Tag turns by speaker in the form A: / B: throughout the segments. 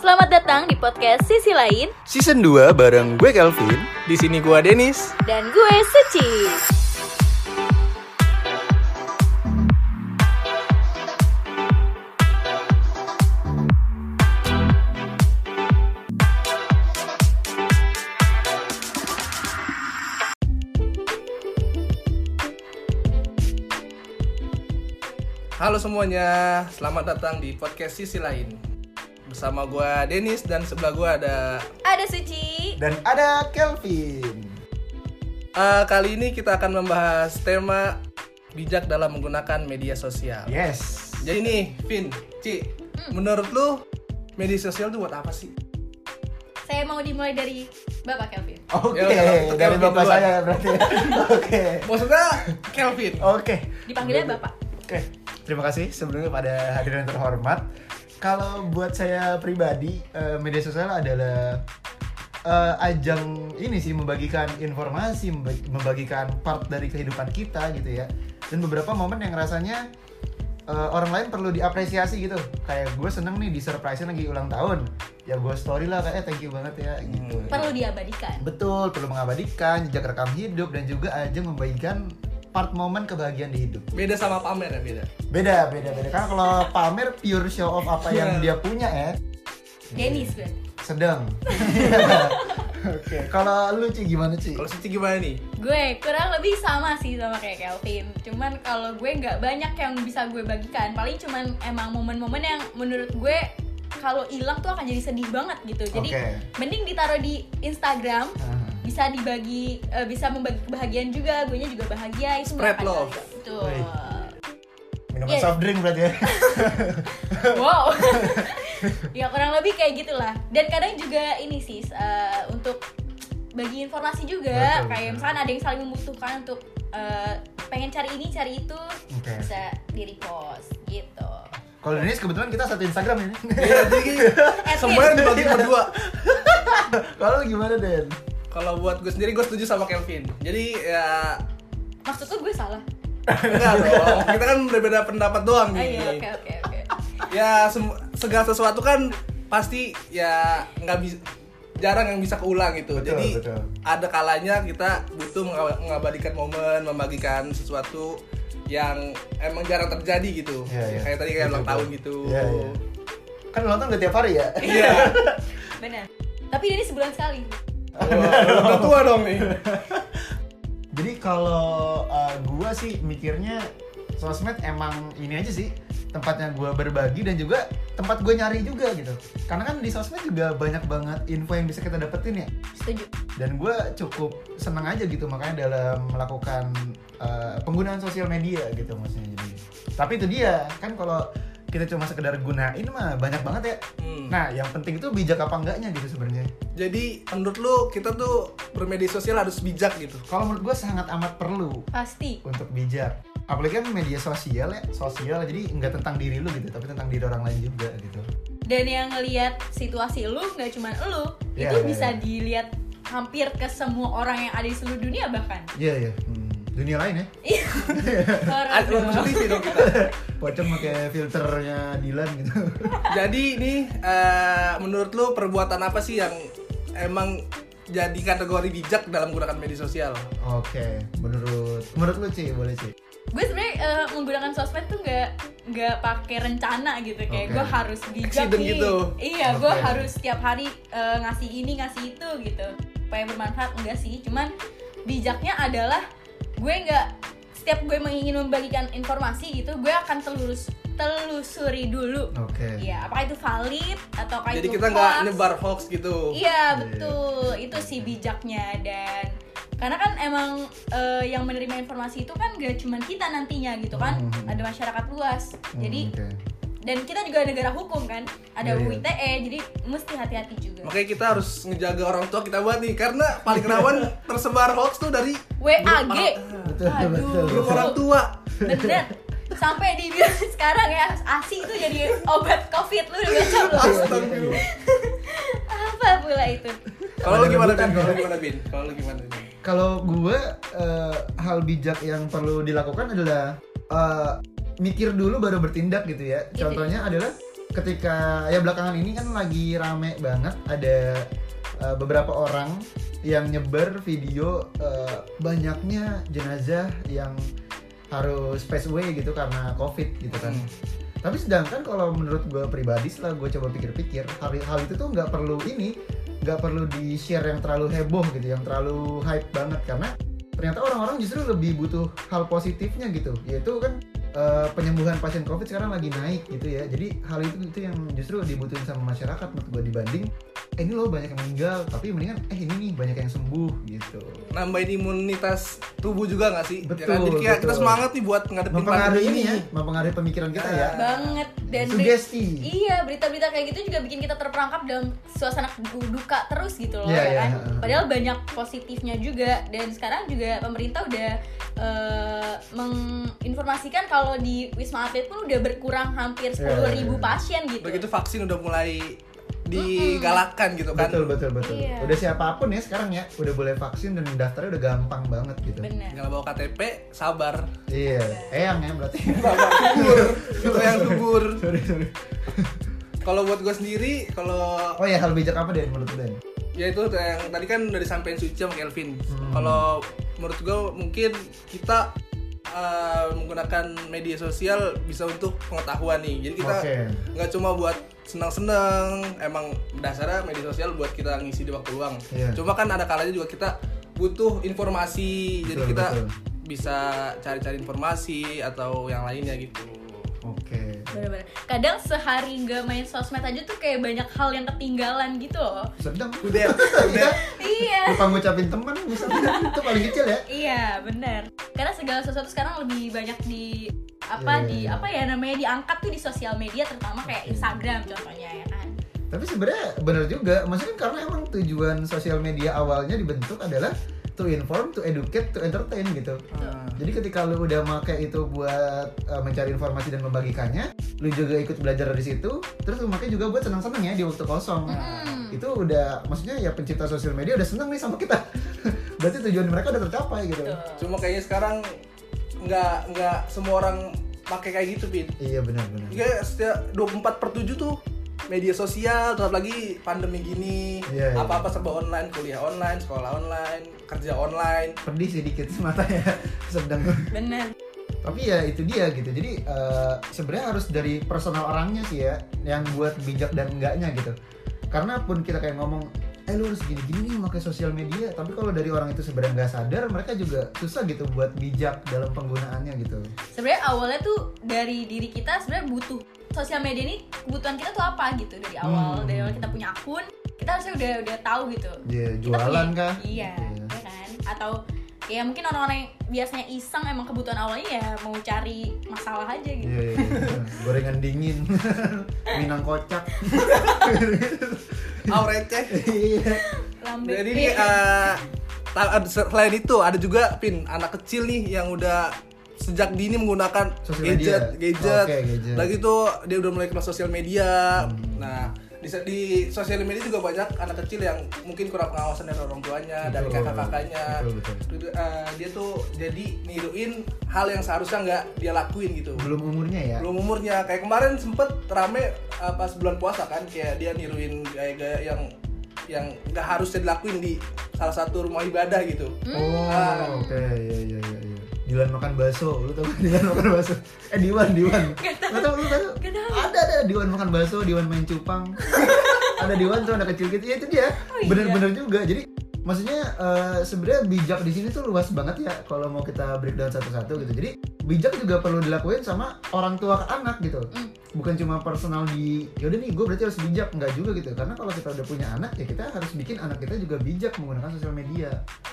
A: Selamat datang di podcast Sisi Lain
B: Season 2 bareng gue Kelvin.
C: Di sini gua Denis.
A: dan gue Suci.
C: Halo semuanya, selamat datang di podcast Sisi Lain. Bersama gua Denis dan sebelah gua ada
A: Ada Suci.
B: Dan ada Kelvin.
C: Eh, kali ini kita akan membahas tema bijak dalam menggunakan media sosial.
B: Yes.
C: Jadi nih, Vin, Ci, menurut lu media sosial itu buat apa sih?
A: Saya mau dimulai dari Bapak Kelvin.
B: Oke,
C: Ya, Kelvin
B: dari bapak
C: duluan.
B: saya berarti. ya. Oke.
C: Maksudnya Kelvin.
B: Oke.
A: Dipanggilnya Bapak.
B: Oke. Terima kasih sebelumnya pada hadirin yang terhormat. Kalau buat saya pribadi, eh, media sosial adalah eh, ajang ini sih membagikan informasi, memba- membagikan part dari kehidupan kita gitu ya. Dan beberapa momen yang rasanya eh, orang lain perlu diapresiasi gitu. Kayak gue seneng nih di surprise lagi ulang tahun. Ya gue story lah kayak "Eh, thank you banget ya gitu.
A: Perlu diabadikan.
B: Betul, perlu mengabadikan jejak rekam hidup dan juga ajang membagikan part momen kebahagiaan di hidup.
C: Beda sama pamer ya, beda.
B: Beda, beda, beda. Karena kalau pamer pure show off apa yang dia punya ya,
A: Dennis gue.
B: sedang. Oke, kalau lu Ci gimana Ci?
C: Kalau Suci gimana nih?
A: Gue kurang lebih sama sih sama kayak Kelvin. Cuman kalau gue nggak banyak yang bisa gue bagikan. Paling cuman emang momen-momen yang menurut gue kalau hilang tuh akan jadi sedih banget gitu. Jadi
B: Oke.
A: mending ditaruh di Instagram
B: Ah.
A: bisa dibagi eh, bisa membagi kebahagiaan juga gue juga bahagia itu merupakan
C: Spread love.
A: bahagia. betul
B: Wih. Minuman
A: Iya.
B: soft drink berarti ya.
A: wow ya kurang lebih kayak gitulah dan kadang juga ini sih eh, untuk bagi informasi juga
B: Betul,
A: kayak
B: betul.
A: misalnya ada yang saling membutuhkan untuk eh, pengen cari ini cari itu
B: Oke.
A: bisa di repost gitu
B: Kalau Denis kebetulan kita satu Instagram ini.
C: Ya, jadi
A: At least.
C: semuanya dibagi berdua.
B: kalau lu gimana Den?
C: Kalau buat gue sendiri, gue setuju sama Kelvin. Jadi ya
A: maksud tuh gue salah
C: enggak dong. Kita kan berbeda pendapat doang
A: oh
C: nih.
A: iya oke oke oke
C: Ya sem- segala sesuatu kan pasti ya nggak bisa jarang yang bisa keulang gitu.
B: Betul,
C: Jadi
B: betul.
C: ada kalanya kita butuh menga- mengabadikan momen, membagikan sesuatu yang emang jarang terjadi gitu.
B: Iya, iya.
C: Kayak tadi kayak
B: Betul,
C: ulang
B: betul.
C: tahun gitu.
B: Iya, iya. Kan lu nonton gak tiap hari ya?
C: Iya.
A: benar tapi dari sebulan sekali
C: Wah, udah tua dong nih.
B: Jadi kalau uh, gua sih mikirnya sosmed emang ini aja sih tempatnya gua berbagi dan juga tempat gue nyari juga gitu. Karena kan di sosmed juga banyak banget info yang bisa kita dapetin ya.
A: setuju
B: Dan gua cukup seneng aja gitu makanya dalam melakukan uh, penggunaan sosial media gitu maksudnya. Jadi. Tapi itu dia kan kalau kita cuma sekedar gunain mah banyak banget ya.
C: Hmm.
B: Nah yang penting itu bijak apa enggaknya gitu sebenarnya.
C: Jadi menurut lu kita tuh bermedia sosial harus bijak gitu.
B: Kalau menurut gue sangat amat perlu
A: pasti
B: untuk bijak apalagi kan media sosial ya sosial jadi nggak tentang diri lu gitu tapi tentang diri orang lain juga gitu
A: dan yang ngelihat situasi lu nggak cuman lu itu
B: Iya, iya,
A: bisa
B: iya.
A: dilihat hampir ke semua orang yang ada di seluruh dunia bahkan
B: iya iya dunia lain ya
C: Iya.
A: Orang
C: Ada
A: dong.
C: dong kita.
B: pocong pakai filternya Dilan gitu
C: Jadi ini eh, menurut lu perbuatan apa sih yang emang jadi kategori bijak dalam menggunakan media sosial?
B: oke menurut menurut lu sih boleh sih
A: gue sebenarnya eh, menggunakan sosmed tuh nggak nggak pakai rencana gitu kayak
B: Oke.
A: gue harus bijak
C: Accident
A: nih
C: gitu.
A: iya gue
B: Oke.
A: harus setiap hari eh, ngasih ini ngasih itu gitu supaya bermanfaat enggak sih cuman bijaknya adalah gue nggak setiap gue ingin membagikan informasi gitu gue akan telurus telusuri dulu
B: oke
A: Iya, apa itu valid atau kayak
C: jadi
A: itu
C: kita nggak
A: hoax?
C: nyebar hoax gitu.
A: Iya, betul. Itu sih bijaknya dan karena kan emang eh, yang menerima informasi itu kan gak cuman kita nantinya gitu kan,
B: Hmm.
A: ada masyarakat luas. Jadi
B: Hmm, oke.
A: dan kita juga negara hukum kan, ada
B: Iya, iya.
A: UITE, jadi mesti hati-hati juga.
C: Makanya kita harus ngejaga orang tua kita buat nih karena paling rawan tersebar hoax tuh dari
A: WAG.
B: Betul, betul,
C: grup orang tua.
A: Bener. Sampai dibilang sekarang ya, ASI itu jadi obat Covid lu udah baca belum?
C: Astagfirullah.
A: Apa pula itu?
C: Kalau lu
B: Ada
C: gimana
B: rebutan,
C: Bin? Kalau lu
B: ya?
C: gimana Bin? Kalau lu gimana Bin?
B: kalau gue eh, hal bijak yang perlu dilakukan adalah eh, mikir dulu baru bertindak gitu ya
A: Gitu.
B: contohnya adalah ketika ya belakangan ini kan lagi rame banget ada eh, beberapa orang yang nyebar video eh, banyaknya jenazah yang harus pass away gitu karena covid gitu kan.
C: Hmm.
B: Tapi sedangkan kalau menurut gue pribadi setelah gue coba pikir-pikir hal, hal itu tuh nggak perlu ini nggak perlu di share yang terlalu heboh gitu yang terlalu hype banget karena ternyata orang-orang justru lebih butuh hal positifnya gitu yaitu kan eh, penyembuhan pasien covid sekarang lagi naik gitu ya jadi hal itu itu yang justru dibutuhin sama masyarakat menurut gue dibanding eh, ini loh banyak yang meninggal tapi mendingan eh ini nih banyak yang sembuh gitu
C: Nambahin imunitas tubuh juga nggak sih? Ya kan?
B: Betul,
C: Jadi kayak kita
B: betul.
C: semangat nih buat ngadepin
B: mempengaruhi
C: pandemi
B: ini ya mempengaruhi pemikiran kita ya
A: banget dan beri-
B: sugesti
A: Iya, berita-berita kayak gitu juga bikin kita terperangkap dalam suasana du- duka terus gitu loh,
B: Iya,
A: ya
B: iya,
A: kan?
B: heeh.
A: Padahal banyak positifnya juga dan sekarang juga pemerintah udah eh, menginformasikan kalau di Wisma Atlet pun udah berkurang hampir 10.000
B: Iya, iya, iya.
A: pasien gitu.
C: Begitu vaksin udah mulai digalakkan gitu kan.
B: betul betul betul
A: Iya.
B: udah siapapun ya sekarang ya udah boleh vaksin dan daftarnya udah gampang banget gitu
A: Benar.
C: Tinggal bawa KTP, sabar.
B: iya eyang ya berarti
C: Sabar subur. Itu yang subur.
B: sorry sorry
C: Kalau buat gue sendiri, kalau
B: oh ya hal bijak apa deh menurut lu, Den
C: ya itu yang tadi kan udah disampaikan Suci sama Kelvin.
B: Hmm.
C: Kalau menurut gue mungkin kita eh, menggunakan media sosial bisa untuk pengetahuan nih. Jadi kita
B: Oke.
C: nggak cuma buat senang-senang emang dasarnya media sosial buat kita ngisi di waktu luang
B: Iya.
C: cuma kan ada kalanya juga kita butuh informasi jadi
B: Betul,
C: kita
B: betul.
C: bisa cari-cari informasi atau yang lainnya gitu
B: oke
A: Benar-benar. Kadang sehari nggak main sosmed aja tuh kayak banyak hal yang ketinggalan gitu loh.
B: sedang
C: udah udah
A: Iya.
B: lupa ngucapin teman misalnya itu paling kecil ya
A: Iya, benar. Karena segala sesuatu sekarang lebih banyak di apa
B: Iya,
A: di
B: iya, iya.
A: apa ya namanya diangkat tuh di sosial media terutama kayak Instagram contohnya ya kan.
B: tapi sebenarnya bener juga maksudnya karena emang tujuan sosial media awalnya dibentuk adalah to inform to educate to entertain gitu
C: Nah.
B: Jadi ketika lu udah make itu buat uh, mencari informasi dan membagikannya, lu juga ikut belajar dari situ, terus lu make juga buat senang-senang ya di waktu kosong.
A: Hmm.
B: Itu udah maksudnya ya pencipta sosial media udah senang nih sama kita. Berarti tujuan mereka udah tercapai gitu.
A: Tuh.
C: cuma kayaknya sekarang nggak nggak semua orang pakai kayak gitu pin
B: Iya benar benar.
C: juga setiap 24 per 7 tuh media sosial terus lagi pandemi gini
B: Iya, iya.
C: apa-apa serba online kuliah online sekolah online kerja online
B: Pedih sih dikit mata ya sedang.
A: Bener.
B: Tapi ya itu dia gitu. Jadi uh, sebenarnya harus dari personal orangnya sih ya yang buat bijak dan enggaknya gitu. Karena pun kita kayak ngomong eh lu harus gini-gini nih pakai sosial media tapi kalau dari orang itu sebenarnya nggak sadar mereka juga susah gitu buat bijak dalam penggunaannya gitu
A: Sebenarnya awalnya tuh dari diri kita sebenarnya butuh sosial media ini kebutuhan kita tuh apa gitu dari awal
B: Hmm.
A: dari awal kita punya akun kita harusnya udah udah tahu gitu.
B: dia
A: Kita punya-
B: jualan kah
A: Iya,
B: Gitu ya.
A: ya kan? Atau ya mungkin orang-orang yang biasanya iseng emang kebutuhan awalnya ya mau cari masalah aja gitu.
B: Iya, iya, iya. gorengan dingin minang kocak
C: Au receh.
B: iya
A: Lambe.
C: Jadi ini eh, ta- ad- selain itu ada juga pin anak kecil nih yang udah sejak dini menggunakan
B: Sosial media.
C: gadget, gadget.
B: Oke, gadget. Hmm.
C: Lagi tuh dia udah mulai kenal sosial media. Nah, di, di sosial media juga banyak anak kecil yang mungkin kurang pengawasan dari orang tuanya, dari
B: Betul.
C: kakak-kakaknya.
B: Betul, betul.
C: Terus, eh, dia tuh jadi niruin hal yang seharusnya nggak dia lakuin gitu.
B: belum umurnya ya
C: Belum umurnya kayak kemarin sempet rame eh, pas bulan puasa kan kayak dia niruin gaya-gaya yang yang nggak harusnya dilakuin di salah satu rumah ibadah gitu.
A: Hmm.
B: oh
C: Ah.
B: oke iya iya iya iya Dilan makan bakso, lu tau kan Dilan makan bakso? Eh Diwan, Diwan.
A: Gak
B: Gak tau, lu tau?
A: Gak tau.
B: Ada, ada Diwan makan bakso, Diwan main cupang. ada Diwan tuh anak kecil gitu, ya itu dia.
A: Oh, iya.
B: Bener-bener juga. Jadi maksudnya eh, sebenarnya bijak di sini tuh luas banget ya kalau mau kita breakdown satu-satu gitu. Jadi bijak juga perlu dilakuin sama orang tua ke anak gitu.
A: Mm.
B: Bukan cuma personal di yaudah nih gue berarti harus bijak nggak juga gitu. Karena kalau kita udah punya anak ya kita harus bikin anak kita juga bijak menggunakan sosial media.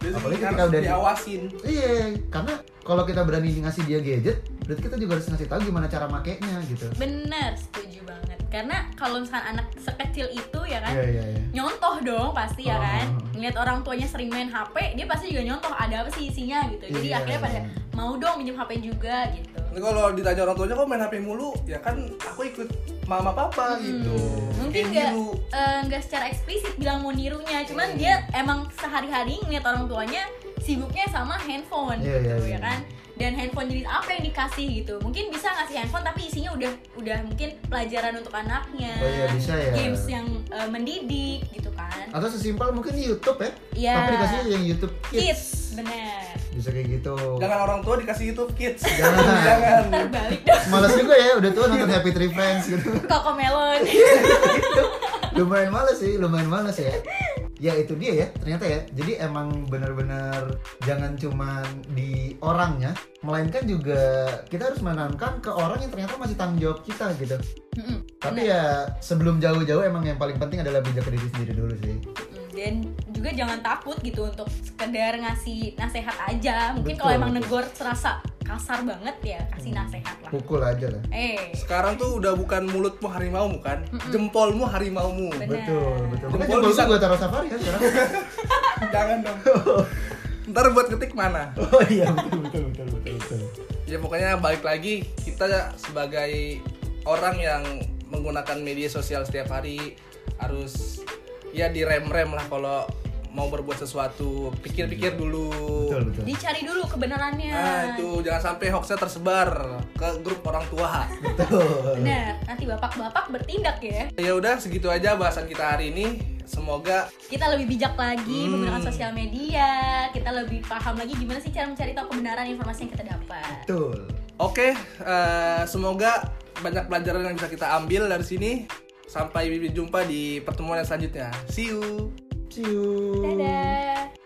C: Jadi
B: Apalagi
C: harus
B: ketika udah di-
C: diawasin.
B: Iya, karena kalau kita berani ngasih dia gadget, berarti kita juga harus ngasih tahu gimana cara makainya gitu.
A: Bener, setuju banget. Karena kalau misalkan anak sekecil itu ya kan,
B: Iya, iya, iya.
A: nyontoh dong pasti ya
B: Oh.
A: kan. Ngeliat orang tuanya sering main HP, dia pasti juga nyontoh ada apa sih isinya gitu. Jadi
B: Iya.
A: akhirnya pada mau dong minjem HP juga gitu.
C: Nanti kalau ditanya orang tuanya kok main HP mulu, ya kan aku ikut mama papa gitu.
A: Mungkin
C: Kayak
A: nggak
C: niru.
A: eh, nggak secara eksplisit bilang mau nirunya,
B: Iya,
A: cuman dia emang sehari-hari ngeliat orang tuanya sibuknya sama handphone
B: Iya,
A: gitu
B: iya,
A: ya
B: iya.
A: kan. dan handphone jenis apa yang dikasih gitu mungkin bisa ngasih handphone tapi isinya udah udah mungkin pelajaran untuk anaknya
B: Oh iya, bisa ya.
A: games yang eh, mendidik gitu kan
B: Atau sesimpel mungkin YouTube ya.
A: Iya.
B: Tapi dikasih yang YouTube Kids.
A: kids bener
B: Bisa kayak gitu.
C: Jangan orang tua dikasih YouTube Kids.
B: Jangan.
C: Jangan.
A: terbalik dong
B: Males juga ya, udah tua nonton Happy Tree Friends gitu.
A: koko melon
B: lumayan males sih, lumayan males ya. Ya itu dia ya, ternyata ya. Jadi emang bener-bener jangan cuman di orangnya, melainkan juga kita harus menanamkan ke orang yang ternyata masih tanggung jawab kita gitu.
A: Mm-mm.
B: Tapi ya sebelum jauh-jauh emang yang paling penting adalah bijak ke diri sendiri dulu sih.
A: Mm, dan juga jangan takut gitu untuk sekedar ngasih nasehat aja mungkin
B: Betul,
A: kalau emang
B: betul. Hmm.
A: negor serasa kasar banget ya kasih nasehat lah
B: Pukul aja lah.
A: eh
C: Sekarang tuh udah bukan mulutmu harimaumu kan, jempolmu harimaumu.
A: Bener.
B: Betul, betul. Makanya
C: Jempol
B: jempol
C: bisa-
B: gue taruh safari kan sekarang.
C: Jangan dong. Ntar buat ketik mana?
B: Oh iya, betul, betul, betul, betul, betul.
C: Ya pokoknya balik lagi kita sebagai orang yang menggunakan media sosial setiap hari harus ya direm-rem lah kalau mau berbuat sesuatu pikir-pikir dulu.
B: Iya. Betul, betul.
A: dicari dulu kebenarannya
C: Nah itu jangan sampai hoaxnya tersebar ke grup orang tua.
B: Betul.
A: bener nanti bapak-bapak bertindak ya
C: Ya udah segitu aja bahasan kita hari ini. Semoga
A: kita lebih bijak
B: Hmm.
A: lagi menggunakan sosial media kita lebih paham lagi gimana sih cara mencari tahu kebenaran informasi yang kita dapat
B: Betul.
C: oke. eh, semoga banyak pelajaran yang bisa kita ambil dari sini. Sampai jumpa di pertemuan yang selanjutnya. See you.
B: See you.
A: dadah